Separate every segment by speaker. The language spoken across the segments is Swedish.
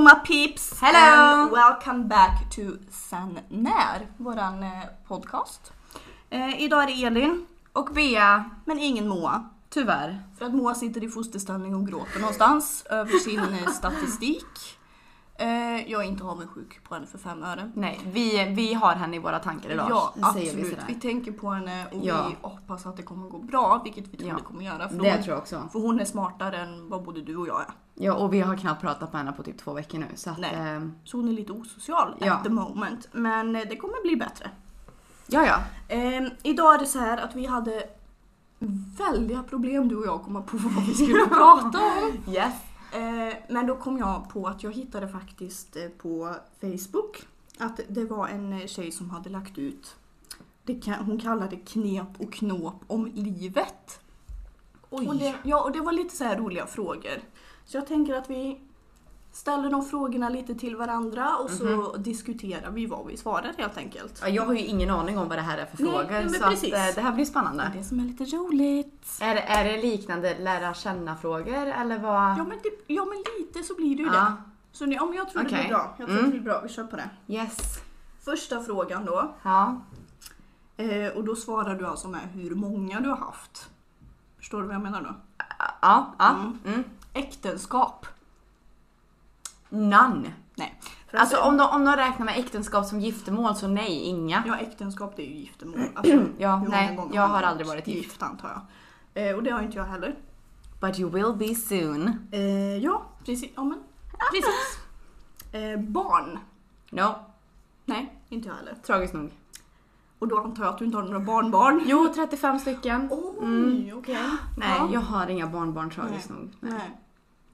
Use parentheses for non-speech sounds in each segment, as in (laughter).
Speaker 1: my peeps!
Speaker 2: Hello!
Speaker 1: And welcome back to Sen När, våran eh, podcast. Eh, idag är det Elin,
Speaker 2: Och Bea,
Speaker 1: men ingen Moa.
Speaker 2: tyvärr.
Speaker 1: För att Moa sitter i fosterställning och gråter
Speaker 2: (laughs)
Speaker 1: någonstans över sin eh, statistik. Eh, jag är inte avundsjuk på henne för fem öre.
Speaker 2: Nej, vi, vi har henne i våra tankar idag.
Speaker 1: Ja,
Speaker 2: Det säger
Speaker 1: absolut.
Speaker 2: sådär.
Speaker 1: Vi, tänker på henne och
Speaker 2: Ja.
Speaker 1: vi hoppas att det kommer gå bra, vilket vi tror
Speaker 2: Ja.
Speaker 1: det kommer göra. För
Speaker 2: Det
Speaker 1: hon,
Speaker 2: tror jag också.
Speaker 1: för hon är smartare än vad både du och jag är.
Speaker 2: Ja, och vi har knappt pratat med henne på typ två veckor nu. Så att,
Speaker 1: Nej.
Speaker 2: ehm,
Speaker 1: Så hon är lite osocial
Speaker 2: Ja.
Speaker 1: at the moment. Men eh, det kommer bli bättre.
Speaker 2: ja, ja.
Speaker 1: Ehm, idag är det så här att vi hade väldiga problem du och jag att komma på vad vi skulle prata om.
Speaker 2: Yes.
Speaker 1: Eh, men då kom jag på att jag hittade faktiskt eh, på Facebook att det var en eh, tjej som hade lagt ut, det kan, hon kallade knep och knåp om livet.
Speaker 2: Oj.
Speaker 1: Och det, ja, och det var lite så här roliga frågor. Så jag tänker att vi ställer de frågorna lite till varandra och så diskuterar vi vad vi svarar helt enkelt.
Speaker 2: Mhm. Ja, Jag har ju ingen aning om vad det här är för
Speaker 1: Nej,
Speaker 2: frågor.
Speaker 1: nej, men
Speaker 2: så att,
Speaker 1: precis.
Speaker 2: eh, det här blir
Speaker 1: Det är
Speaker 2: spännande.
Speaker 1: det som är lite roligt.
Speaker 2: Är, det- är det liknande lära känna frågor eller vad?
Speaker 1: Ja men, det, ja, men lite så blir det ju det.
Speaker 2: Ja.
Speaker 1: Så ni, om jag tror det
Speaker 2: Okej.
Speaker 1: blir bra. Jag tror
Speaker 2: Mm.
Speaker 1: det blir bra, vi kör på det.
Speaker 2: Yes.
Speaker 1: Första frågan då.
Speaker 2: Ja.
Speaker 1: Eh, och då svarar du alltså med hur många du har haft. Förstår du vad jag menar då?
Speaker 2: Ja. ja.
Speaker 1: Mm.
Speaker 2: Mm.
Speaker 1: Äktenskap.
Speaker 2: None.
Speaker 1: Nej. För
Speaker 2: Alltså
Speaker 1: att-
Speaker 2: om de, om de räknar med äktenskap som giftermål så nej, inga.
Speaker 1: Ja, äktenskap det är ju giftermål.
Speaker 2: (clears throat)
Speaker 1: Alltså,
Speaker 2: Ja,
Speaker 1: hur många
Speaker 2: nej,
Speaker 1: gånger
Speaker 2: jag
Speaker 1: man
Speaker 2: har aldrig varit gift.
Speaker 1: gift antar jag. Eh, och det har ju inte jag heller.
Speaker 2: But you will be soon.
Speaker 1: Eh, ja, precis. Ja, men, precis. Eh, barn.
Speaker 2: No,
Speaker 1: Nej, inte jag heller.
Speaker 2: tragiskt nog.
Speaker 1: Och då antar jag att du inte har några barnbarn.
Speaker 2: Jo, 35 stycken.
Speaker 1: Oj,
Speaker 2: Mm.
Speaker 1: okej.
Speaker 2: Nej,
Speaker 1: Ja.
Speaker 2: jag har inga barnbarn tragiskt nog. Nej.
Speaker 1: Nej.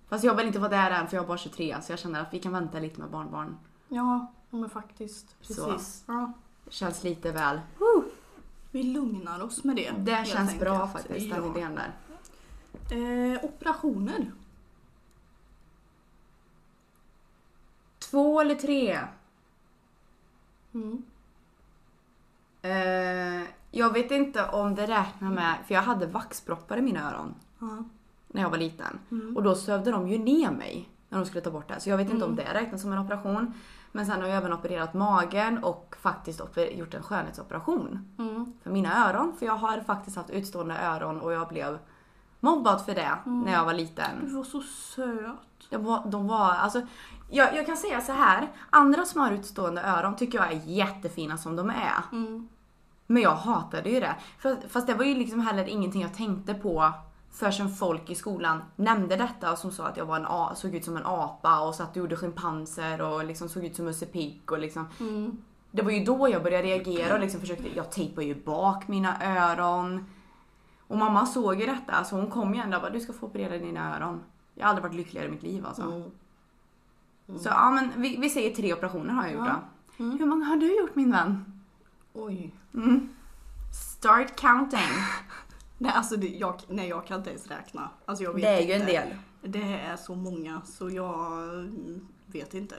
Speaker 2: Fast jag vill inte vara där än för jag är bara 23 så jag känner att vi kan vänta lite med barnbarn.
Speaker 1: Ja, men faktiskt.
Speaker 2: Så.
Speaker 1: Precis. Ja.
Speaker 2: Känns lite väl.
Speaker 1: Vi lugnar oss med det.
Speaker 2: Det
Speaker 1: helt
Speaker 2: känns bra
Speaker 1: enkelt.
Speaker 2: faktiskt, den
Speaker 1: Ja.
Speaker 2: idén där.
Speaker 1: Eh, operationer.
Speaker 2: Två eller tre?
Speaker 1: Mm.
Speaker 2: Eh, jag vet inte om det räknar med, för jag hade vaxproppar i mina öron
Speaker 1: Ja.
Speaker 2: när jag var liten.
Speaker 1: Mm.
Speaker 2: Och då sövde de ju ner mig när de skulle ta bort det. Så jag vet inte om
Speaker 1: Mm.
Speaker 2: det räknas som en operation. Men sen har jag även opererat magen och faktiskt oper- gjort en skönhetsoperation.
Speaker 1: Mm.
Speaker 2: för mina öron. För jag har faktiskt haft utstående öron och jag blev mobbad för det när jag var
Speaker 1: Du
Speaker 2: liten.
Speaker 1: var så söt.
Speaker 2: De var, de var alltså, jag, jag kan säga så här. andra som har utstående öron tycker jag är jättefina som de är.
Speaker 1: Mm.
Speaker 2: Men jag hatade ju det. Fast, fast det var ju liksom heller ingenting jag tänkte på förrän folk i skolan nämnde detta och som sa att jag var en, a- såg ut som en apa och så att du gjorde schimpanser och liksom såg ut som Musse Pigg och liksom
Speaker 1: Mm.
Speaker 2: det var ju då jag började reagera och liksom försökte, jag tejpade ju bak mina öron. Och mamma såg ju detta så hon kom ju ändå och bara du ska få operera dina öron. Jag har aldrig varit lyckligare i mitt liv alltså.
Speaker 1: Mm.
Speaker 2: Så ja men vi, vi säger tre operationer har jag gjort
Speaker 1: Ja.
Speaker 2: då.
Speaker 1: Mm.
Speaker 2: Hur många har du gjort min vän?
Speaker 1: Oj.
Speaker 2: Mm. Start counting.
Speaker 1: Nej, alltså det, jag, nej, jag kan inte ens räkna. Alltså, jag vet
Speaker 2: Det är ju
Speaker 1: inte.
Speaker 2: en del.
Speaker 1: Det är så många så jag mm, vet inte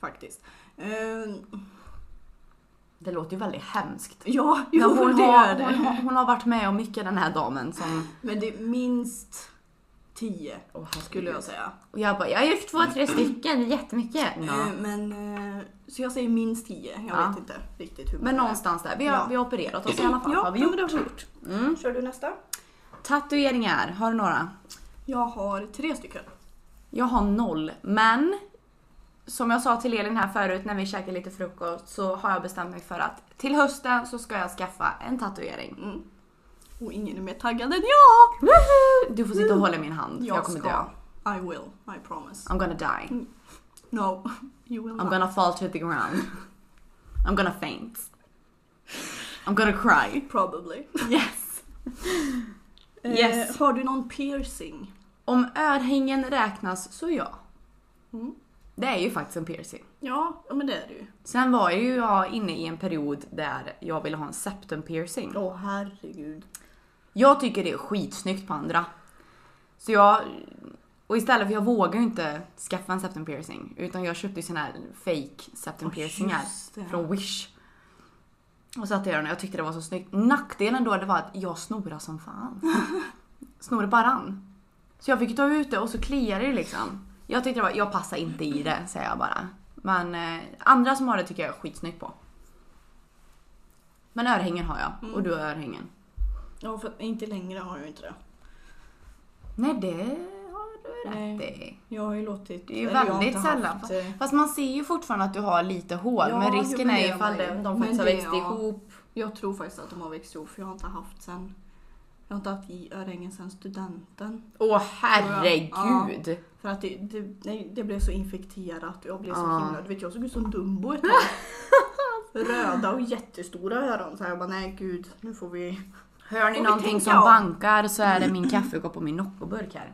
Speaker 1: faktiskt. Eh,
Speaker 2: Det låter ju väldigt hemskt.
Speaker 1: ja,
Speaker 2: Men
Speaker 1: jo,
Speaker 2: hon,
Speaker 1: det
Speaker 2: har,
Speaker 1: är
Speaker 2: hon,
Speaker 1: det.
Speaker 2: har, hon har varit med om mycket den här damen som...
Speaker 1: Men det är minst tio
Speaker 2: Åh,
Speaker 1: skulle jag säga.
Speaker 2: Och jag bara, jag har gjort två,
Speaker 1: Mm.
Speaker 2: tre stycken, det är jättemycket.
Speaker 1: Eh, Men, eh, så jag säger minst tio. Jag
Speaker 2: Ja.
Speaker 1: vet inte riktigt hur många
Speaker 2: Men
Speaker 1: det är.
Speaker 2: någonstans där. Vi har,
Speaker 1: Ja.
Speaker 2: vi har opererat oss i alla fall.
Speaker 1: Ja,
Speaker 2: har vi
Speaker 1: ja,
Speaker 2: gjort.
Speaker 1: men det har vi gjort.
Speaker 2: Mm.
Speaker 1: Kör du nästa?
Speaker 2: Tatueringar, har du några?
Speaker 1: Jag har tre stycken.
Speaker 2: Jag har noll, men som jag sa till Elin här förut när vi käkade lite frukost så har jag bestämt mig för att till hösten så ska jag skaffa en tatuering.
Speaker 1: Mm. Och ingen är mer taggad än jag!
Speaker 2: Du får sitta och hålla i min hand för jag,
Speaker 1: Jag
Speaker 2: kommer
Speaker 1: ska.
Speaker 2: dö.
Speaker 1: I will, I promise.
Speaker 2: I'm gonna die.
Speaker 1: No, (laughs) you will
Speaker 2: I'm
Speaker 1: not.
Speaker 2: gonna fall to the ground. I'm gonna faint. I'm gonna cry.
Speaker 1: Probably.
Speaker 2: Yes. Yes.
Speaker 1: Eh, har du någon piercing?
Speaker 2: Om örhängen räknas så ja.
Speaker 1: Mm.
Speaker 2: Det är ju faktiskt en piercing.
Speaker 1: Ja, ja, men det är det ju.
Speaker 2: Sen var ju jag inne i en period där jag ville ha en septum piercing.
Speaker 1: Åh herregud.
Speaker 2: Jag tycker det är skitsnyggt på andra. Så jag... Och istället för jag vågar ju inte skaffa en septum piercing. Utan jag köpte ju såna här fake septum
Speaker 1: Åh,
Speaker 2: piercingar
Speaker 1: just det.
Speaker 2: från Wish. Och satte jag den och jag tyckte det var så snyggt. Nackdelen då det var att jag
Speaker 1: (laughs)
Speaker 2: snorade som fan. snorade bara rann. Så jag fick ju ta ut det och så kliade det liksom. Jag tyckte det var, jag passar inte i det säger jag bara. Men eh, andra som har det tycker jag är skitsnyggt på. Men örhängen har jag och
Speaker 1: Mm.
Speaker 2: du har örhängen.
Speaker 1: Ja, för inte längre har jag inte det.
Speaker 2: Nej det har du
Speaker 1: Nej.
Speaker 2: rätt i.
Speaker 1: Jag har ju låtit...
Speaker 2: Det är ju
Speaker 1: eller jag har
Speaker 2: väldigt
Speaker 1: inte haft,
Speaker 2: sällan.
Speaker 1: eh,
Speaker 2: Fast man ser ju fortfarande att du har lite hår.
Speaker 1: Ja,
Speaker 2: men
Speaker 1: jo,
Speaker 2: risken
Speaker 1: men
Speaker 2: är ju
Speaker 1: det
Speaker 2: ifall
Speaker 1: har jag
Speaker 2: de,
Speaker 1: ju.
Speaker 2: de
Speaker 1: Men
Speaker 2: faktiskt har
Speaker 1: det-
Speaker 2: växt
Speaker 1: ja.
Speaker 2: ihop.
Speaker 1: Jag tror faktiskt att de har växt ihop för jag har inte haft sen... Jag har inte haft i örhängen sen studenten.
Speaker 2: Åh herregud!
Speaker 1: För att det, det, nej, det blev så infekterat och jag blev så
Speaker 2: Ja.
Speaker 1: himla... Du vet jag såg ut som Dumbo
Speaker 2: (laughs)
Speaker 1: ett tag. Röda och jättestora öron. Så här, jag bara nej gud, nu får vi...
Speaker 2: Hör ni
Speaker 1: Får vi
Speaker 2: någonting
Speaker 1: tänka
Speaker 2: som
Speaker 1: om?
Speaker 2: bankar så är det (clears throat) min kaffekopp och min Noccoburk här.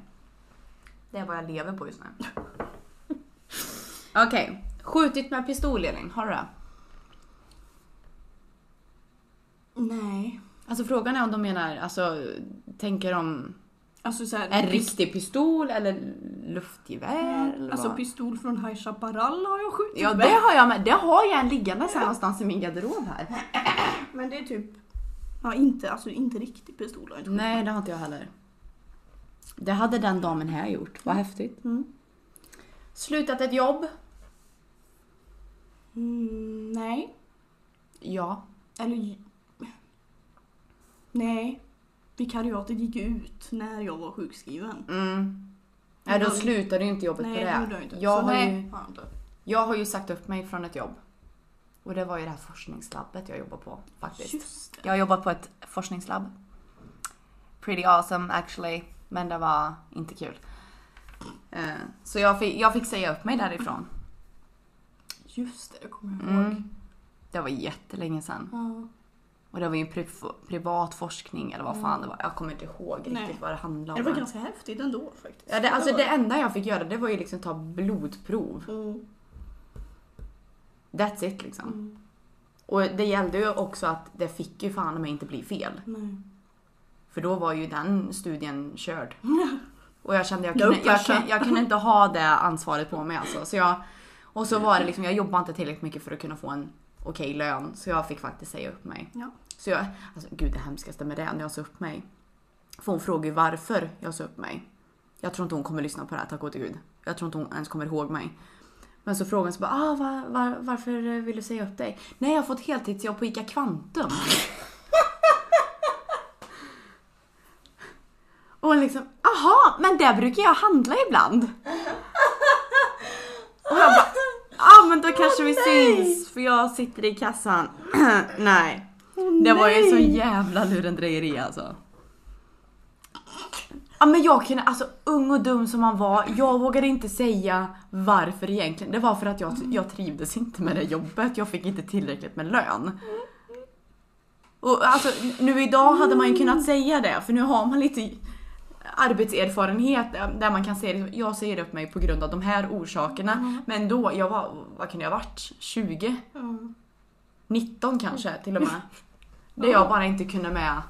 Speaker 2: Det är vad jag lever på just nu. Okej, skjutit med pistol Elin, har du det?
Speaker 1: Nej.
Speaker 2: Alltså frågan är om de menar, alltså tänker de
Speaker 1: Alltså så här,
Speaker 2: en riktig pistol eller luftgevär? Eller
Speaker 1: Alltså
Speaker 2: vad?
Speaker 1: pistol från High Chaparral har jag skjutit
Speaker 2: ja
Speaker 1: med.
Speaker 2: det har jag med, det har jag en liggande så här någonstans i min garderob här.
Speaker 1: Men det är typ... Ja, inte, alltså inte riktig pistol har jag inte skjutit
Speaker 2: Nej, det har inte jag heller. Det hade den damen här gjort. Vad häftigt.
Speaker 1: Mm.
Speaker 2: Slutat ett jobb?
Speaker 1: Mm, nej.
Speaker 2: Ja.
Speaker 1: Eller... j- Nej. Vikariatet gick ut när jag var sjukskriven.
Speaker 2: Mm. Nej, då
Speaker 1: Men-
Speaker 2: slutade ju inte jobbet
Speaker 1: Nej,
Speaker 2: på
Speaker 1: det
Speaker 2: det.
Speaker 1: gjorde jag inte.
Speaker 2: Jag
Speaker 1: Så
Speaker 2: har,
Speaker 1: nej,
Speaker 2: ju,
Speaker 1: har jag inte.
Speaker 2: jag har ju sagt upp mig från ett jobb. Och det var ju det här forskningslabbet jag jobbar på faktiskt.
Speaker 1: Just det.
Speaker 2: Jag har jobbat på ett forskningslabb. Pretty awesome actually. Men det var inte kul. Eh, Så jag fick, jag fick säga upp mig därifrån.
Speaker 1: Just det, det kommer jag ihåg.
Speaker 2: Mm. Det var jättelänge sedan.
Speaker 1: Ja.
Speaker 2: Och det var ju pri- privat forskning eller vad fan
Speaker 1: Mm.
Speaker 2: det var. Jag kommer inte ihåg
Speaker 1: Nej.
Speaker 2: riktigt vad det handlade
Speaker 1: Det
Speaker 2: om.
Speaker 1: var ganska häftigt ändå faktiskt.
Speaker 2: ja, det, alltså
Speaker 1: var-
Speaker 2: det enda jag fick göra det var ju liksom ta blodprov.
Speaker 1: Mm,
Speaker 2: That's it liksom.
Speaker 1: mm,
Speaker 2: Och det gällde ju också att det fick ju fan mig inte bli fel.
Speaker 1: nej.
Speaker 2: För då var ju den studien körd. Och jag kände jag
Speaker 1: Jag
Speaker 2: kunde, jag,
Speaker 1: uppförsar.
Speaker 2: kunde- jag kunde inte ha det ansvaret på mig alltså. Så jag, och så var det liksom, jag jobbade inte tillräckligt mycket för att kunna få en okej lön. Så jag fick faktiskt säga upp mig.
Speaker 1: Ja.
Speaker 2: Så jag, alltså gud det hemskaste med det, när jag sa upp mig. För hon frågade ju varför jag sa upp mig. Jag tror inte hon kommer lyssna på det här, tack gode gud. Jag tror inte hon ens kommer ihåg mig. Men så frågade hon så bara, ah, var, var, varför vill du säga upp dig? Nej, jag har fått heltidsjobb på ICA Kvantum. Och liksom, aha, men där brukar jag handla ibland. Och jag bara, ja ah, men då kanske vi syns för jag sitter i kassan. (clears throat) nej. Det var ju så jävla lurendrejeri alltså. Ja men jag kunde, alltså ung och dum som man var, jag vågade inte säga varför egentligen. Det var för att jag, jag trivdes inte med det jobbet, jag fick inte tillräckligt med lön. Och alltså nu idag hade man ju kunnat säga det, för nu har man lite arbetserfarenhet där man kan säga liksom, jag säger upp mig på grund av de här orsakerna. Men då, jag var, vad kunde jag ha varit? 20?
Speaker 1: Mm.
Speaker 2: 19 kanske till och (laughs) med. Det jag bara inte kunde med.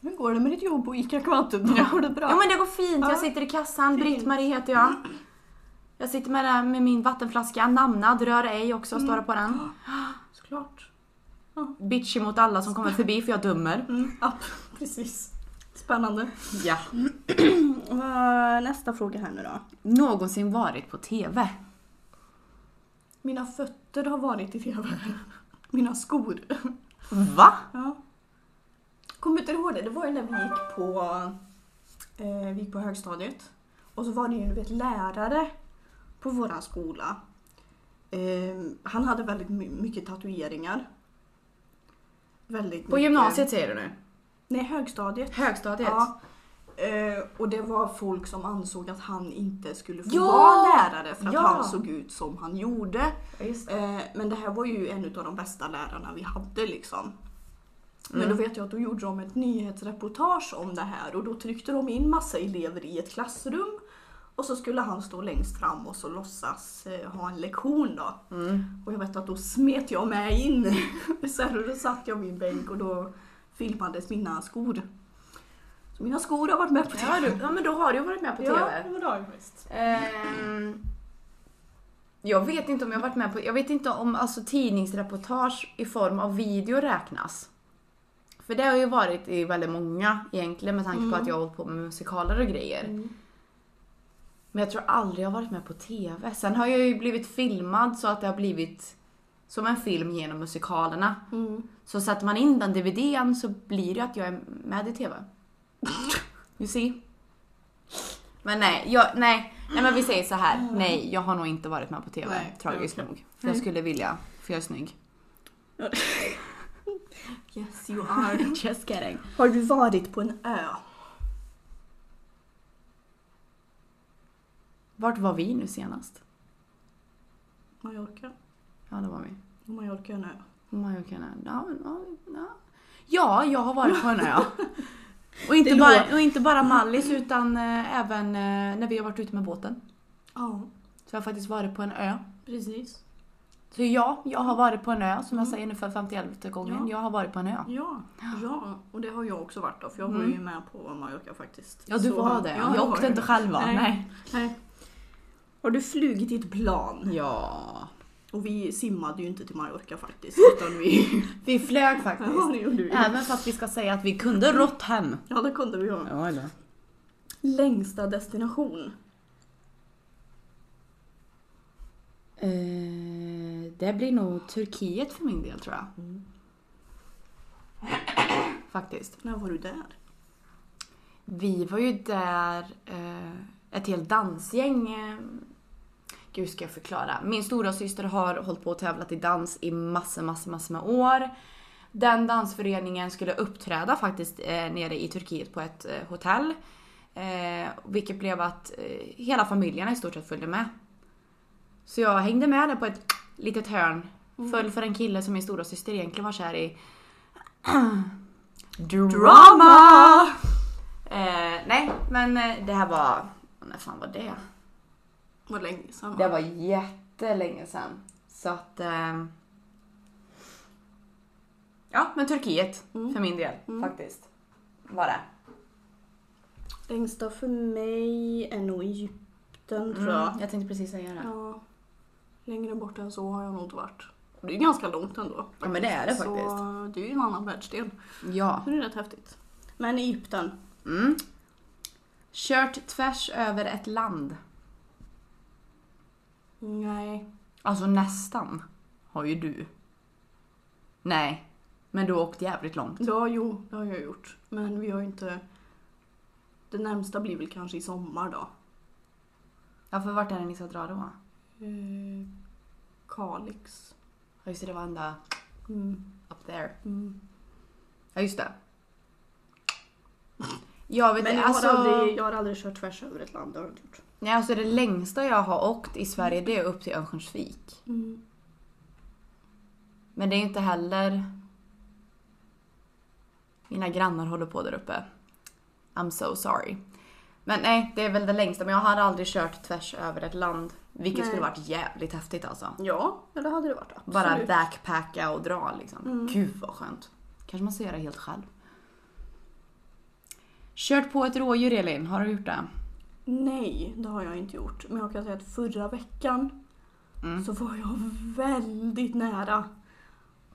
Speaker 1: Hur går det med ditt jobb på ICA Kvantum? Går det bra?
Speaker 2: Ja men det går fint,
Speaker 1: Ja.
Speaker 2: jag sitter i kassan,
Speaker 1: Fint.
Speaker 2: Britt-Marie heter jag. Jag sitter med, den- med min vattenflaska, namnad, rör ej också, står det på den.
Speaker 1: Såklart.
Speaker 2: Bitchy mot alla som kommer förbi för jag dömer.
Speaker 1: Mm. Ja, (laughs) precis. Spännande.
Speaker 2: (laughs) Ja. Mm, eh,
Speaker 1: Vad- Nästa fråga här nu då.
Speaker 2: Någonsin varit på TV?
Speaker 1: Mina fötter har varit i TV. Mina skor.
Speaker 2: Va?
Speaker 1: Ja. Kommer inte ihåg det? Det var ju när vi gick på, eh, vi gick på högstadiet. Och så var det ju du vet, lärare på vår skola. Eh, han hade väldigt my- mycket tatueringar. Väldigt
Speaker 2: På
Speaker 1: mycket-
Speaker 2: gymnasiet säger du nu?
Speaker 1: Nej, högstadiet.
Speaker 2: Högstadiet?
Speaker 1: Ja. Eh, och det var folk som ansåg att han inte skulle få
Speaker 2: Ja!
Speaker 1: vara lärare för att
Speaker 2: Ja.
Speaker 1: han såg ut som han gjorde.
Speaker 2: just det.
Speaker 1: Eh, men det här var ju en av de bästa lärarna vi hade liksom. Men
Speaker 2: Mm.
Speaker 1: då vet jag att då gjorde de ett nyhetsreportage om det här och då tryckte de in massa elever i ett klassrum och så skulle han stå längst fram och så låtsas eh, ha en lektion då.
Speaker 2: Mm.
Speaker 1: Och jag vet att då smet jag med in. så här, och då satt jag i min bänk och då filmades mina skor. Så mina skor har varit med på
Speaker 2: Ja, du, ja men då har du varit med på TV.
Speaker 1: Ja, det var det faktiskt.
Speaker 2: Ehm, jag vet inte om jag varit med på, jag vet inte om alltså tidningsreportage i form av video räknas. För det har ju varit i väldigt många egentligen med tanke på
Speaker 1: Mm.
Speaker 2: att jag har hållit på med musikaler och grejer. Men jag tror aldrig jag har varit med på TV. Sen har jag ju blivit filmad så att det har blivit som en film genom musikalerna.
Speaker 1: Mm.
Speaker 2: Så sätter man in den DVDn så blir det att jag är med i TV. You see? Men nej, jag, nej, nej men vi säger så här. Nej, jag har nog inte varit med på TV.
Speaker 1: Nej,
Speaker 2: tragiskt
Speaker 1: okej. Mm.
Speaker 2: nog. För jag
Speaker 1: Nej.
Speaker 2: skulle vilja, för jag är snygg.
Speaker 1: Yes you are.
Speaker 2: (laughs) Just kidding.
Speaker 1: Har du varit på en ö?
Speaker 2: Vart var vi nu senast?
Speaker 1: Mallorca.
Speaker 2: Ja, det var vi.
Speaker 1: Och Mallorca är en ö.
Speaker 2: Mallorca, nej. Ja, men, ja, ja. ja, jag har varit på
Speaker 1: (laughs)
Speaker 2: en ö. Och
Speaker 1: Det
Speaker 2: inte,
Speaker 1: lå-
Speaker 2: bara, och inte bara Mallis utan eh, även eh, när vi har varit ute med båten.
Speaker 1: Ja,
Speaker 2: Så jag har faktiskt varit på en ö.
Speaker 1: precis.
Speaker 2: Så ja, jag har varit på en ö som jag
Speaker 1: Mm.
Speaker 2: säger nu för 51 gången.
Speaker 1: Ja.
Speaker 2: Jag har varit på en ö.
Speaker 1: Ja, ja, och det har jag också varit då, för jag var
Speaker 2: Mm.
Speaker 1: ju med på Mallorca faktiskt.
Speaker 2: Ja, du
Speaker 1: Så-
Speaker 2: var det.
Speaker 1: Ja, jag
Speaker 2: jag
Speaker 1: var
Speaker 2: åkte
Speaker 1: det.
Speaker 2: inte själv va?
Speaker 1: Nej.
Speaker 2: Nej.
Speaker 1: Nej. Har du flugit i ett plan?
Speaker 2: Ja.
Speaker 1: Och vi simmade ju inte till Mallorca faktiskt, utan
Speaker 2: (laughs)
Speaker 1: vi...
Speaker 2: Vi flög
Speaker 1: ja,
Speaker 2: faktiskt.
Speaker 1: det gjorde vi.
Speaker 2: Även fast vi ska säga att vi kunde rått hem.
Speaker 1: Ja, det kunde vi ha.
Speaker 2: Ja, eller?
Speaker 1: Längsta destination?
Speaker 2: Eh, det blir nog Turkiet för min del tror jag.
Speaker 1: Mm.
Speaker 2: Faktiskt.
Speaker 1: När var du där?
Speaker 2: Vi var ju där eh, ett helt dansgäng. Eh, gud ska jag förklara. Min stora syster har hållit på och tävlat i dans i massor, massor, massor med år. Den dansföreningen skulle uppträda faktiskt eh, nere i Turkiet på ett eh, hotell. Eh, vilket blev att eh, hela familjen i stort sett följde med. Så jag hängde med där på ett litet hörn. Föll för en kille som min stora syster egentligen var kär i. Drama! Eh, nej, men eh, det här var... När fan var det?
Speaker 1: Var länge sedan? va?
Speaker 2: Det var jättelänge sedan. Så att... Eh, ja, men Turkiet
Speaker 1: Mm.
Speaker 2: för min del faktiskt. Var det.
Speaker 1: Längsta för mig är nog Egypten tror Mm. jag.
Speaker 2: Jag tänkte precis säga det.
Speaker 1: Ja. Längre bort än så har jag nog inte varit. Och Det är ganska långt ändå.
Speaker 2: Ja, men det är det faktiskt.
Speaker 1: Så det är ju en annan världsdel.
Speaker 2: Ja.
Speaker 1: Så det är rätt häftigt. Men Egypten.
Speaker 2: Mm. Kört tvärs över ett land.
Speaker 1: Nej.
Speaker 2: Alltså nästan. Har ju du. Nej. Men du har åkt jävligt långt.
Speaker 1: Ja, jo, det har jag gjort. Men vi har ju inte... Det närmsta blir väl kanske i sommar då.
Speaker 2: Ja, för vart är det ni ska dra då?
Speaker 1: Eh, Kalix.
Speaker 2: Ja, just det, det var ända
Speaker 1: Mm,
Speaker 2: up there.
Speaker 1: mm.
Speaker 2: Ja, just det. Jag vet
Speaker 1: Men
Speaker 2: inte,
Speaker 1: jag,
Speaker 2: alltså,
Speaker 1: har aldrig, jag har aldrig kört tvärs över ett land, det har jag inte gjort.
Speaker 2: nej, alltså det längsta jag har åkt i Sverige det är upp till Örnsköldsvik.
Speaker 1: Mm.
Speaker 2: Men det är inte heller... Mina grannar håller på där uppe. I'm so sorry. Men nej, det är väl det längsta. Men jag har aldrig kört tvärs över ett land. Vilket
Speaker 1: Nej.
Speaker 2: skulle varit jävligt häftigt alltså.
Speaker 1: Ja, ja, det hade det varit. Absolut.
Speaker 2: Bara backpacka och dra liksom.
Speaker 1: Mm.
Speaker 2: Gud vad skönt. Kanske man ska göra helt själv. Kört på ett rådjur Elin, har du gjort det?
Speaker 1: Nej, det har jag inte gjort. Men jag kan säga att förra veckan
Speaker 2: Mm.
Speaker 1: så var jag väldigt nära.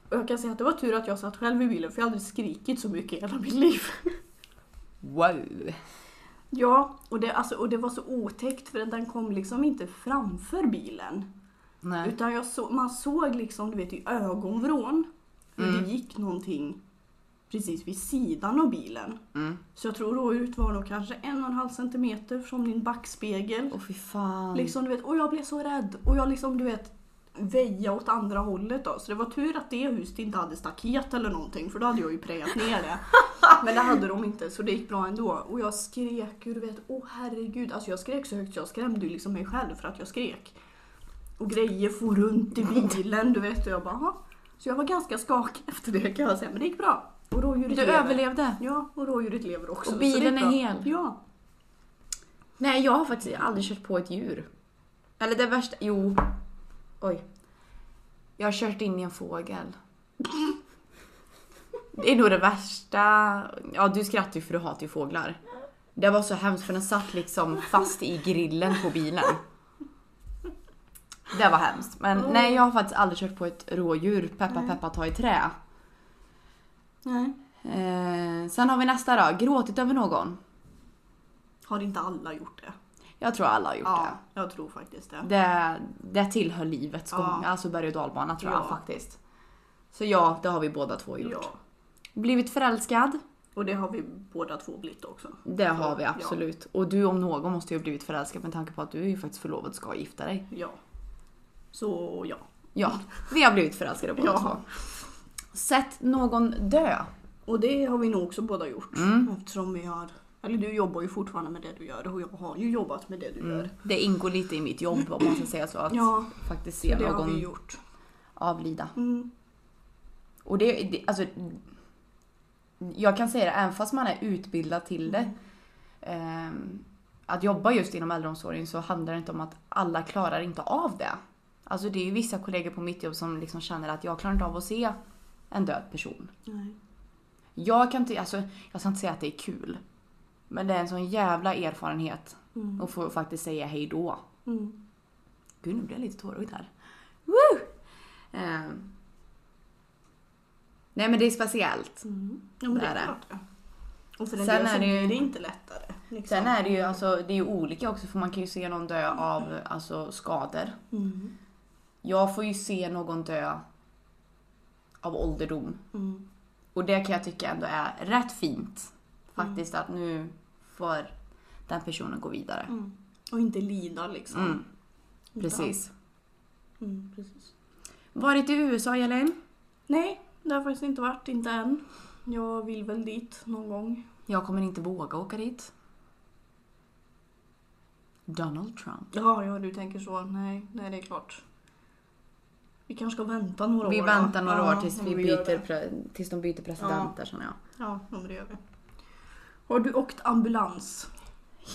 Speaker 1: Och jag kan säga att det var tur att jag satt själv i bilen för jag har aldrig skrikit så mycket i hela mitt liv. (laughs)
Speaker 2: Wow!
Speaker 1: Ja, och det, alltså, och det var så otäckt för att den kom liksom inte framför bilen.
Speaker 2: Nej.
Speaker 1: Utan jag så, man såg liksom, du vet i ögonvrån hur
Speaker 2: Mm.
Speaker 1: det gick någonting precis vid sidan av bilen.
Speaker 2: Mm.
Speaker 1: Så jag tror rådjuret var nog kanske en och en halv centimeter från min backspegel.
Speaker 2: Åh fy fan.
Speaker 1: Liksom, du vet, och jag blev så rädd. Och jag liksom, du vet, väja åt andra hållet då. Så det var tur att det huset inte hade staket eller någonting för då hade jag ju prejat ner
Speaker 2: (laughs)
Speaker 1: det. Men det hade de inte så det gick bra ändå. Och jag skrek ju, du vet, åh herregud. Alltså jag skrek så högt så jag skrämde ju liksom mig själv för att jag skrek. Och grejer for runt i bilen, du vet. Och jag bara, "Jaha." Så jag var ganska skakig (laughs) efter det kan jag säga. Men det gick bra. Och rådjuret
Speaker 2: Du
Speaker 1: lever.
Speaker 2: överlevde.
Speaker 1: Ja, och rådjuret lever också.
Speaker 2: Och
Speaker 1: så det gick
Speaker 2: bilen är
Speaker 1: bra.
Speaker 2: hel.
Speaker 1: Ja.
Speaker 2: Nej, jag har faktiskt aldrig kört på ett djur. Eller det värsta, jo. Oj. Jag har kört in i en fågel. Det är nog det värsta. Ja, du skrattar ju för du hatar ju fåglar. Det var så hemskt för den satt liksom fast i grillen på bilen. Det var hemskt. Men
Speaker 1: Oj.
Speaker 2: nej, jag har faktiskt aldrig kört på ett rådjur. Peppa peppa ta i trä.
Speaker 1: Nej.
Speaker 2: Eh, sen har vi nästa då. Gråtit över någon.
Speaker 1: Har inte alla gjort det?
Speaker 2: Jag tror alla har gjort
Speaker 1: Ja, jag tror faktiskt
Speaker 2: det.
Speaker 1: det.
Speaker 2: det. Det tillhör livets
Speaker 1: Ja.
Speaker 2: gång, alltså berg och dalbana tror jag
Speaker 1: Ja.
Speaker 2: faktiskt. Så ja, det har vi båda två gjort.
Speaker 1: Ja.
Speaker 2: Blivit förälskad?
Speaker 1: Och det har vi båda två blivit också.
Speaker 2: Det
Speaker 1: Så,
Speaker 2: har vi
Speaker 1: ja.
Speaker 2: absolut. Och du om någon måste ju ha blivit förälskad med tanke på att du är ju faktiskt förlovad och ska gifta dig.
Speaker 1: Ja. Så ja. (laughs)
Speaker 2: Ja, vi har blivit förälskade båda
Speaker 1: Ja.
Speaker 2: två. Sett någon dö?
Speaker 1: Och det har vi nog också båda gjort.
Speaker 2: Mm.
Speaker 1: Eftersom vi har... Eller du jobbar ju fortfarande med det du gör och jag har ju jobbat med det du gör.
Speaker 2: Det ingår lite i mitt jobb om man ska säga så. Mm. Att
Speaker 1: Mm. Ja,
Speaker 2: faktiskt
Speaker 1: så
Speaker 2: se
Speaker 1: det har vi
Speaker 2: någon
Speaker 1: gjort.
Speaker 2: avlida.
Speaker 1: Mm.
Speaker 2: Och det, det, alltså, jag kan säga det, även fast man är utbildad till det.
Speaker 1: Mm.
Speaker 2: ehm, att jobba just inom äldreomsorgen så handlar det inte om att alla klarar inte av det. Alltså det är ju vissa kollegor på mitt jobb som liksom känner att jag klarar inte av att se en död person.
Speaker 1: Nej.
Speaker 2: Jag kan inte, alltså jag ska inte säga att det är kul. Men det är en sån jävla erfarenhet
Speaker 1: Mm.
Speaker 2: att få faktiskt säga hej då.
Speaker 1: Mm.
Speaker 2: Gud, nu blir jag lite tårögd här. Woo! Ehm. Nej men det är speciellt.
Speaker 1: Mm. Ja, men
Speaker 2: Det
Speaker 1: det
Speaker 2: är det.
Speaker 1: är klart det. Och för en
Speaker 2: Sen
Speaker 1: del
Speaker 2: är
Speaker 1: så
Speaker 2: det ju-
Speaker 1: blir det inte lättare. liksom.
Speaker 2: Sen är det ju alltså, det är ju olika också för man kan ju se någon dö av alltså, skador.
Speaker 1: Mm.
Speaker 2: Jag får ju se någon dö av ålderdom.
Speaker 1: Mm.
Speaker 2: Och det kan jag tycka ändå är rätt fint. Faktiskt att nu får den personen gå vidare.
Speaker 1: Mm. Och inte lida liksom.
Speaker 2: Mm,
Speaker 1: Utan-
Speaker 2: precis.
Speaker 1: Mm, precis.
Speaker 2: Varit i USA Elin?
Speaker 1: Nej, det har faktiskt inte varit. Inte än. Jag vill väl dit någon gång.
Speaker 2: Jag kommer inte våga åka dit. Donald Trump.
Speaker 1: Ja, ja du tänker så. Nej, nej det är klart. Vi kanske ska vänta några
Speaker 2: Vi
Speaker 1: år.
Speaker 2: väntar
Speaker 1: va?
Speaker 2: några
Speaker 1: Ja,
Speaker 2: år tills,
Speaker 1: ja,
Speaker 2: vi
Speaker 1: men gör
Speaker 2: byter,
Speaker 1: det.
Speaker 2: pre- tills de byter presidenter känner jag.
Speaker 1: Ja, ja, men det gör vi. Har du åkt ambulans?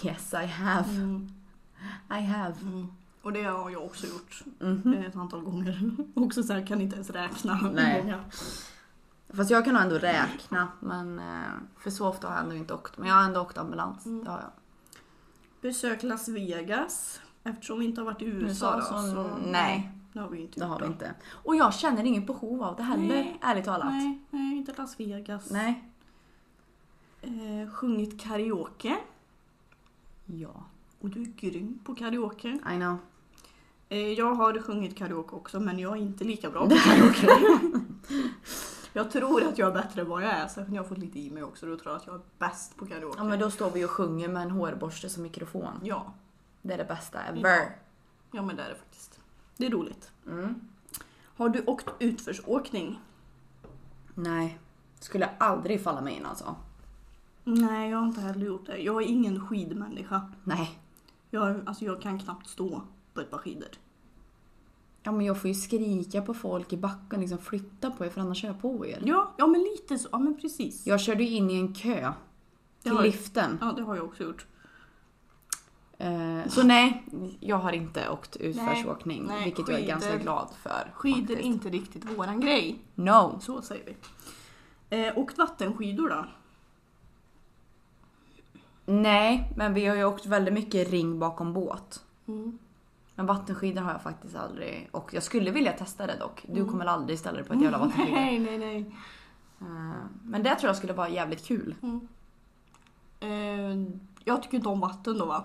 Speaker 2: Yes I have.
Speaker 1: Mm.
Speaker 2: I have.
Speaker 1: Mm. Och det har jag också gjort
Speaker 2: Mhm.
Speaker 1: eh, ett antal gånger. (laughs) Också så här kan inte ens räkna. hur
Speaker 2: Nej.
Speaker 1: många.
Speaker 2: Fast jag kan nog ändå räkna. Men, eh, för så ofta har jag ändå inte åkt. Men jag har ändå åkt ambulans.
Speaker 1: Mm.
Speaker 2: Det har jag.
Speaker 1: Besök Las Vegas. Eftersom vi inte har varit i USA,
Speaker 2: USA,
Speaker 1: då,
Speaker 2: så-
Speaker 1: så
Speaker 2: alltså. nej.
Speaker 1: Det har vi inte
Speaker 2: Det har vi
Speaker 1: då.
Speaker 2: inte. Och jag känner inget behov av det heller.
Speaker 1: Nej.
Speaker 2: Ärligt talat. Nej.
Speaker 1: Nej, nej, inte Las Vegas. Eh, sjungit karaoke.
Speaker 2: Ja.
Speaker 1: Och du är grym på karaoke.
Speaker 2: I know.
Speaker 1: Eh, jag har sjungit karaoke också men jag är inte lika bra på (laughs) karaoke. jag tror att jag är bättre än vad jag är. Särskilt när jag har fått lite i mig också. Då tror jag att jag är bäst på karaoke.
Speaker 2: Ja men då står vi och sjunger med en hårborste som mikrofon.
Speaker 1: ja,
Speaker 2: Det är det bästa ever.
Speaker 1: ja, men det är det faktiskt. Det är roligt.
Speaker 2: Mm.
Speaker 1: Har du åkt utförsåkning?
Speaker 2: Nej. Skulle aldrig falla mig in alltså.
Speaker 1: Nej, jag har inte heller gjort det. Jag är ingen skidmänniska.
Speaker 2: Nej.
Speaker 1: Jag, alltså, jag kan knappt stå på ett par skidor.
Speaker 2: Ja men jag får ju skrika på folk i backen liksom flytta på er för annars kör jag på er.
Speaker 1: Ja, ja men lite så. Ja, men precis.
Speaker 2: Jag körde ju in i en kö
Speaker 1: Det
Speaker 2: till
Speaker 1: har-
Speaker 2: liften.
Speaker 1: Ja, det har jag också gjort.
Speaker 2: Eh, Så nej, jag har inte åkt utförsåkning.
Speaker 1: Nej, nej,
Speaker 2: vilket jag är ganska
Speaker 1: skidor-
Speaker 2: glad för.
Speaker 1: Skidor
Speaker 2: faktiskt.
Speaker 1: är inte riktigt våran grej.
Speaker 2: No.
Speaker 1: Så säger vi. Eh, åkt vattenskidor då?
Speaker 2: Nej, men vi har ju åkt väldigt mycket ring bakom båt.
Speaker 1: Mm.
Speaker 2: Men vattenskidor har jag faktiskt aldrig åkt. Jag skulle vilja testa det dock. Du
Speaker 1: Mm.
Speaker 2: kommer väl aldrig ställa dig på ett jävla vattenskidor.
Speaker 1: Nej, nej, nej.
Speaker 2: Eh, Men det tror jag skulle vara jävligt kul.
Speaker 1: Mm. Eh, jag tycker inte om vatten då va?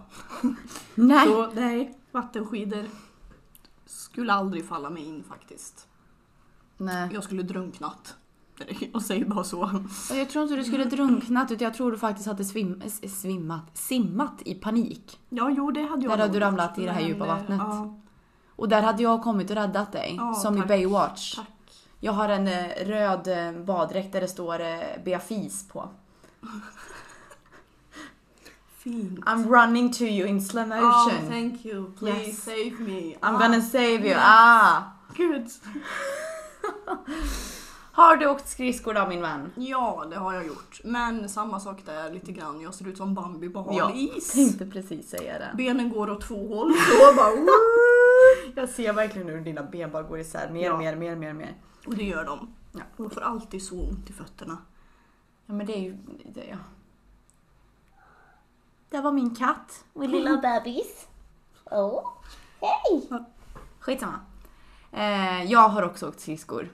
Speaker 2: Nej!
Speaker 1: Så nej, vattenskidor skulle aldrig falla mig in faktiskt.
Speaker 2: nej.
Speaker 1: Jag skulle drunknat. Jag säger bara så.
Speaker 2: Och Jag tror inte du skulle drunknat utan jag tror du faktiskt hade svim, s- svimmat, simmat i panik.
Speaker 1: Ja, jo det hade jag
Speaker 2: Där hade
Speaker 1: nog
Speaker 2: du
Speaker 1: gjort,
Speaker 2: ramlat i det här
Speaker 1: men,
Speaker 2: djupa
Speaker 1: eh,
Speaker 2: vattnet.
Speaker 1: Ja,
Speaker 2: Och där hade jag kommit och räddat dig.
Speaker 1: Ja,
Speaker 2: som i
Speaker 1: tack.
Speaker 2: Baywatch.
Speaker 1: tack.
Speaker 2: Jag har en eh, röd eh, baddräkt där det står eh, Beafis på.
Speaker 1: Fint.
Speaker 2: I'm running to you in slow
Speaker 1: Oh,
Speaker 2: motion.
Speaker 1: thank you. Please
Speaker 2: Yes.
Speaker 1: save me.
Speaker 2: I'm
Speaker 1: Ah,
Speaker 2: gonna save you.
Speaker 1: yes.
Speaker 2: Ah.
Speaker 1: Gud.
Speaker 2: Har du åkt skridskor då min vän?
Speaker 1: Ja, det har jag gjort. Men samma sak där lite grann. Jag ser ut som Bambi på hal
Speaker 2: Ja.
Speaker 1: is.
Speaker 2: Tänkte precis säga det.
Speaker 1: Benen går åt två
Speaker 2: (laughs)
Speaker 1: håll. Så bara, "Woo!"
Speaker 2: Jag ser verkligen hur dina ben bara går isär mer,
Speaker 1: Ja.
Speaker 2: mer, mer, mer, mer.
Speaker 1: och det gör de.
Speaker 2: Ja.
Speaker 1: De får alltid så ont i fötterna.
Speaker 2: Ja men det är ju... Det, ja. Där var min katt. Min lilla bebis.
Speaker 3: Oh, hej!
Speaker 2: Skitsamma. Eh, jag har också åkt skridskor.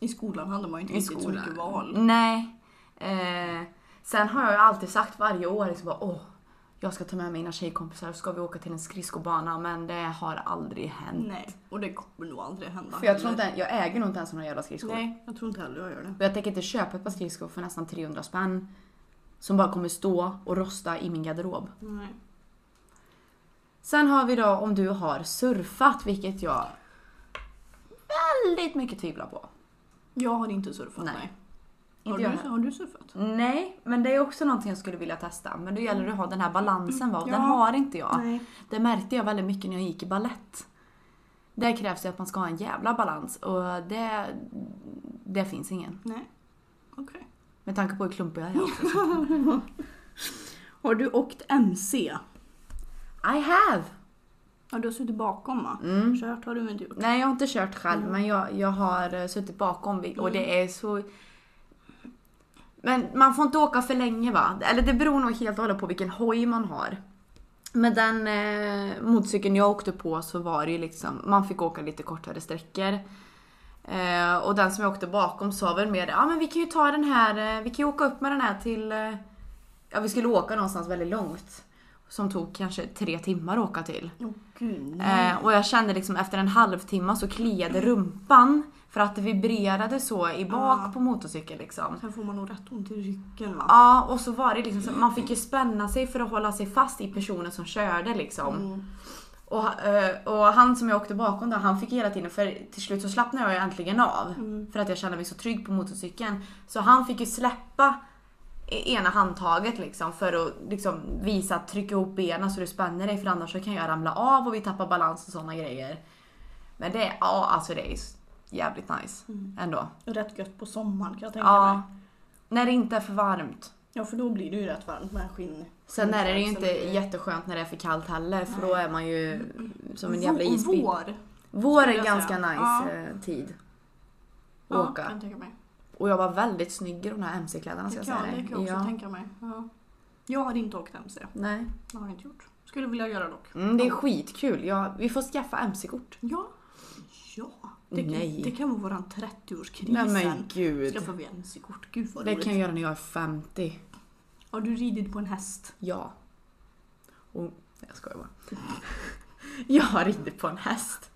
Speaker 1: I skolan hade man ju inte
Speaker 2: I
Speaker 1: riktigt så
Speaker 2: skolan.
Speaker 1: mycket val.
Speaker 2: Nej. Eh, sen har jag ju alltid sagt varje år liksom bara åh, jag ska ta med mina tjejkompisar och ska vi åka till en skridskobana men det har aldrig hänt.
Speaker 1: Nej, och det kommer nog aldrig hända.
Speaker 2: Mm. För jag tror
Speaker 1: heller.
Speaker 2: inte, jag äger nog inte ens några jävla skridskor.
Speaker 1: Nej, jag tror inte heller jag gör det.
Speaker 2: Och jag tänker inte köpa ett par skridskor för nästan 300 spänn. Som bara kommer stå och rosta i min garderob.
Speaker 1: Nej.
Speaker 2: Sen har vi då om du har surfat, vilket jag väldigt mycket tvivlar på.
Speaker 1: Jag har inte surfat,
Speaker 2: Nej.
Speaker 1: nej. Har,
Speaker 2: jag
Speaker 1: du, har du surfat?
Speaker 2: Nej, men det är också någonting jag skulle vilja testa. Men då gäller det att ha den här balansen va? Och den
Speaker 1: Ja.
Speaker 2: har inte jag.
Speaker 1: Nej.
Speaker 2: Det märkte jag väldigt mycket när jag gick i ballett. Där krävs det att man ska ha en jävla balans och det, det finns ingen.
Speaker 1: Nej. Okej.
Speaker 2: Med tanke på hur klumpig jag är också.
Speaker 1: Har du åkt MC?
Speaker 2: I have!
Speaker 1: Ja, du har suttit bakom va?
Speaker 2: Mm.
Speaker 1: Kört har du inte gjort.
Speaker 2: Nej, jag har inte kört själv men jag, jag har eh, suttit bakom vid- och det är så... Men man får inte åka för länge va? Eller det beror nog helt och hållet på vilken hoj man har. Med den eh, motorcykeln jag åkte på så var det ju liksom, man fick åka lite kortare sträckor. Eh, och den som jag åkte bakom sa väl mer, ja men vi kan ju ta den här, eh, vi kan ju åka upp med den här till, eh, ja vi skulle åka någonstans väldigt långt. Som tog kanske tre timmar att åka till.
Speaker 1: Åh gud, nej.
Speaker 2: Eh, och jag kände liksom efter en halvtimme så kliade rumpan för att det vibrerade så i bak
Speaker 1: Ja.
Speaker 2: på motorcykeln liksom.
Speaker 1: Sen får man nog rätt ont i ryggen va?
Speaker 2: Ja, och så var det liksom så, man fick ju spänna sig för att hålla sig fast i personen som körde liksom.
Speaker 1: Mm.
Speaker 2: Och, eh, och han som jag åkte bakom då, han fick hela tiden, för till slut så slappnade jag ju äntligen av.
Speaker 1: Mm.
Speaker 2: För att jag kände mig så trygg på motorcykeln. Så han fick ju släppa i- ena handtaget liksom för att liksom visa att trycka ihop benen så du spänner dig för annars så kan jag ramla av och vi tappar balans och sådana grejer. Men det är, ja alltså det är s- jävligt nice ändå.
Speaker 1: Rätt gött på sommaren kan Mm. jag tänka mig.
Speaker 2: Ja. När det inte är för varmt.
Speaker 1: Ja, för då blir det ju rätt varmt med skinn.
Speaker 2: Sen är det ju inte
Speaker 1: Absolut.
Speaker 2: jätteskönt när det är för kallt heller för då är man ju som en
Speaker 1: Vå-
Speaker 2: jävla isbit.
Speaker 1: Vår.
Speaker 2: Vår
Speaker 1: Skulle
Speaker 2: är
Speaker 1: jag
Speaker 2: ganska
Speaker 1: säga.
Speaker 2: nice
Speaker 1: Ja.
Speaker 2: eh, tid att
Speaker 1: Ja, kan
Speaker 2: åka.
Speaker 1: jag tänka mig.
Speaker 2: Och jag var väldigt snygg i de här mc-kläderna ska
Speaker 1: Det
Speaker 2: jag
Speaker 1: kan,
Speaker 2: säga
Speaker 1: det
Speaker 2: dig.
Speaker 1: kan jag också
Speaker 2: ja.
Speaker 1: tänka mig. Ja. Jag har inte åkt MC.
Speaker 2: Nej.
Speaker 1: Det har jag inte gjort. Skulle vilja göra dock.
Speaker 2: Mm, det är skitkul. Ja, vi får skaffa mc-kort.
Speaker 1: Ja. Ja. Det,
Speaker 2: Nej.
Speaker 1: det kan vara våran 30-årskris
Speaker 2: Nej men
Speaker 1: sen.
Speaker 2: gud.
Speaker 1: Skaffa vi MC-kort. Gud vad
Speaker 2: Det
Speaker 1: roligt.
Speaker 2: kan jag göra när jag är 50.
Speaker 1: Har du ridit på en häst?
Speaker 2: Ja. Och, nej, jag skojar bara. (laughs) Jag har ridit på en häst.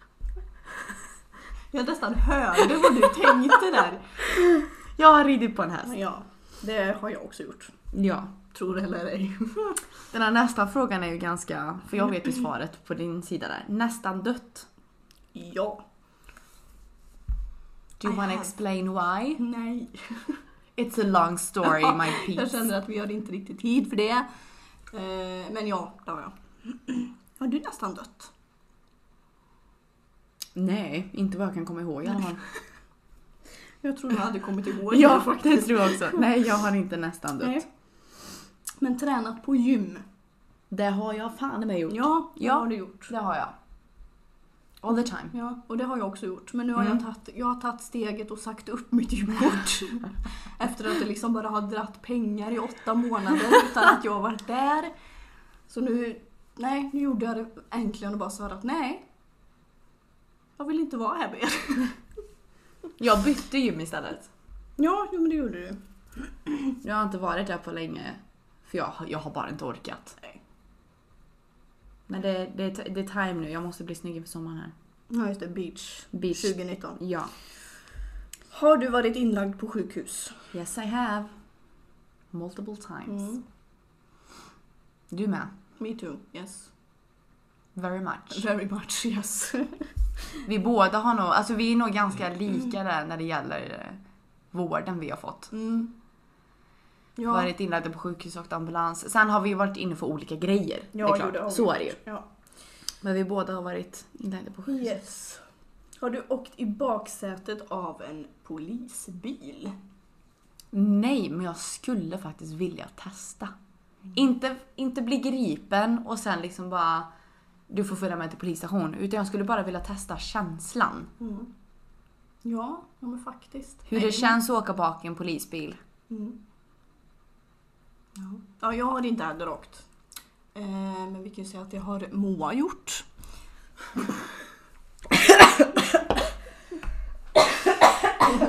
Speaker 1: Jag nästan hörde vad du tänkte
Speaker 2: (laughs)
Speaker 1: där.
Speaker 2: Jag har ridit på en häst.
Speaker 1: Ja, det har jag också gjort.
Speaker 2: Ja.
Speaker 1: Tror eller ej.
Speaker 2: Den här nästa frågan är ju ganska, för jag
Speaker 1: Mm.
Speaker 2: vet ju svaret på din sida där. Nästan dött.
Speaker 1: Ja.
Speaker 2: Do you
Speaker 1: I
Speaker 2: wanna
Speaker 1: have.
Speaker 2: explain why?
Speaker 1: Nej.
Speaker 2: It's a long story my
Speaker 1: (laughs) Jag
Speaker 2: piece.
Speaker 1: känner att vi har inte riktigt tid för det. Eh, Men ja, det har jag. (clears throat) Har du nästan dött?
Speaker 2: Nej, inte vad jag kan komma ihåg i alla (laughs) fall.
Speaker 1: Jag tror jag hade kommit ihåg det
Speaker 2: Ja, det
Speaker 1: faktiskt.
Speaker 2: tror
Speaker 1: (laughs)
Speaker 2: jag också. Nej, jag har inte nästan dött.
Speaker 1: Nej. Men tränat på gym.
Speaker 2: Det har jag fan med gjort.
Speaker 1: Ja, det
Speaker 2: Ja.
Speaker 1: har du gjort.
Speaker 2: Det har jag. All the time.
Speaker 1: Ja, och det har jag också gjort. Men nu har
Speaker 2: Mm.
Speaker 1: jag, tagit, jag har tagit steget och sagt upp mitt (laughs) gymkort. Efter att det liksom bara har dratt pengar i åtta månader utan att jag har varit där. Så nu, nej, nu gjorde jag det äntligen och bara sa att nej. Jag vill inte vara här mer.
Speaker 2: Jag bytte gym istället.
Speaker 1: Ja, jo, men det gjorde du.
Speaker 2: Jag har inte varit där på länge. För jag, jag har bara inte orkat.
Speaker 1: Nej.
Speaker 2: Men det, det, är- det är time nu, jag måste bli snygg inför sommaren här.
Speaker 1: Ja, just det. Beach.
Speaker 2: Beach.
Speaker 1: 2019.
Speaker 2: Ja.
Speaker 1: Har du varit inlagd på sjukhus?
Speaker 2: Yes I have. Multiple times.
Speaker 1: Mm.
Speaker 2: Du med.
Speaker 1: Me too. Yes.
Speaker 2: Very much.
Speaker 1: Very much yes.
Speaker 2: Vi båda har nog, alltså vi är nog ganska
Speaker 1: Mm.
Speaker 2: lika där när det gäller eh, vården vi har fått.
Speaker 1: Mm. Ja,
Speaker 2: Varit inlagda på sjukhus och ambulans. Sen har vi varit inne för olika grejer.
Speaker 1: ja,
Speaker 2: det är
Speaker 1: jo,
Speaker 2: klart.
Speaker 1: har vi
Speaker 2: Så är det ju.
Speaker 1: gjort. Ja.
Speaker 2: Men vi båda har varit inlagda på sjukhus.
Speaker 1: Yes. Har du åkt i baksätet av en polisbil?
Speaker 2: Nej, men jag skulle faktiskt vilja testa. Inte, inte bli gripen och sen liksom bara du får följa med till polisstation. Utan jag skulle bara vilja testa känslan.
Speaker 1: Ja, ja men faktiskt.
Speaker 2: Mm. Hur det känns att åka bak i en polisbil.
Speaker 1: Mm. Ja. ja, jag har inte heller åkt. Eh, men vi kan ju säga att det har Moa gjort. Hon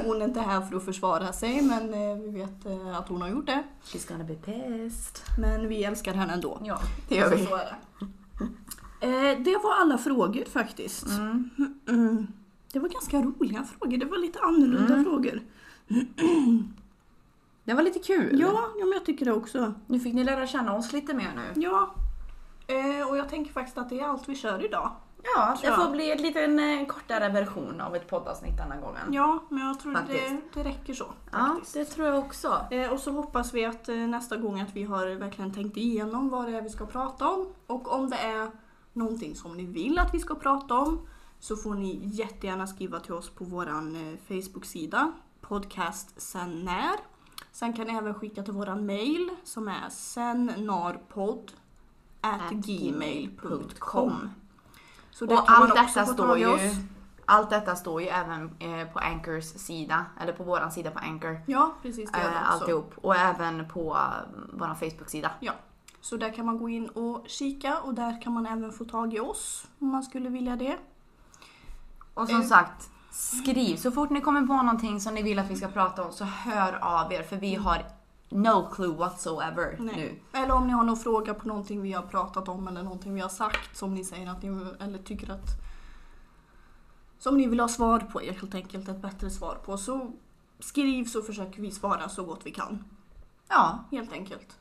Speaker 1: hon är inte här för att försvara sig men eh, vi vet eh, att hon har gjort det.
Speaker 2: She's gonna be pissed.
Speaker 1: Men vi älskar henne ändå.
Speaker 2: Ja,
Speaker 1: Det gör vi.
Speaker 2: Så är det.
Speaker 1: Eh, det var alla frågor faktiskt. Mm. Det var ganska roliga frågor, det var lite annorlunda
Speaker 2: Mm.
Speaker 1: frågor.
Speaker 2: Det var lite kul.
Speaker 1: Ja, ja men jag tycker det också.
Speaker 2: Nu fick ni lära känna oss lite mer nu.
Speaker 1: Ja. Eh, och jag tänker faktiskt att det är allt vi kör idag.
Speaker 2: Ja, det
Speaker 1: Ja.
Speaker 2: får bli en liten eh, kortare version av ett poddavsnitt denna gången.
Speaker 1: Ja, men jag tror det,
Speaker 2: Mm. Faktiskt.
Speaker 1: det räcker så.
Speaker 2: ja
Speaker 1: faktiskt.
Speaker 2: det tror jag också.
Speaker 1: Eh, Och så hoppas vi att eh, nästa gång att vi har verkligen tänkt igenom vad det är vi ska prata om. Och om det är någonting som ni vill att vi ska prata om så får ni jättegärna skriva till oss på vår Facebook-sida podcast sen när. Sen kan ni även skicka till vår mail som är sennarpodd
Speaker 2: At
Speaker 1: gmail.com. Så där
Speaker 2: Och
Speaker 1: kan man
Speaker 2: allt
Speaker 1: också
Speaker 2: detta,
Speaker 1: få tag
Speaker 2: står
Speaker 1: i
Speaker 2: ju,
Speaker 1: oss.
Speaker 2: allt detta står ju även eh, på Anchors sida, eller på våran sida på Anchor.
Speaker 1: Ja, precis. Det gör det
Speaker 2: Eh,
Speaker 1: också.
Speaker 2: alltihop. Och även på eh, våran Facebook-sida.
Speaker 1: Ja, så där kan man gå in och kika och där kan man även få tag i oss om man skulle vilja det.
Speaker 2: Och
Speaker 1: Eh.
Speaker 2: som sagt, skriv. Så fort ni kommer på någonting som ni vill att vi ska prata om så hör av er för vi har no clue whatsoever nu.
Speaker 1: Eller om ni har någon fråga på någonting vi har pratat om eller någonting vi har sagt som ni säger att ni eller tycker att som ni vill ha svar på helt enkelt, ett bättre svar på. Så skriv så försöker vi svara så gott vi kan.
Speaker 2: Ja,
Speaker 1: Helt enkelt.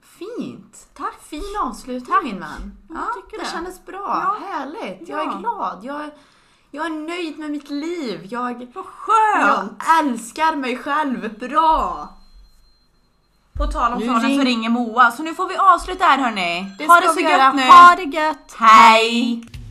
Speaker 2: fint.
Speaker 1: Tack!
Speaker 2: Fin avslutning min vän.
Speaker 1: Jag tycker
Speaker 2: det
Speaker 1: det.
Speaker 2: kändes bra.
Speaker 1: Ja.
Speaker 2: Härligt. Jag
Speaker 1: Ja.
Speaker 2: är glad. Jag, jag är nöjd med mitt liv. Jag,
Speaker 1: Vad skönt!
Speaker 2: jag älskar mig själv. Bra! På tal om
Speaker 1: Nu
Speaker 2: planen
Speaker 1: ring-
Speaker 2: så ringer Moa. Så nu får vi avsluta här hörni.
Speaker 1: Det
Speaker 2: ha
Speaker 1: ska
Speaker 2: det så
Speaker 1: vi göra.
Speaker 2: gött nu.
Speaker 1: Ha det gött!
Speaker 2: Hej!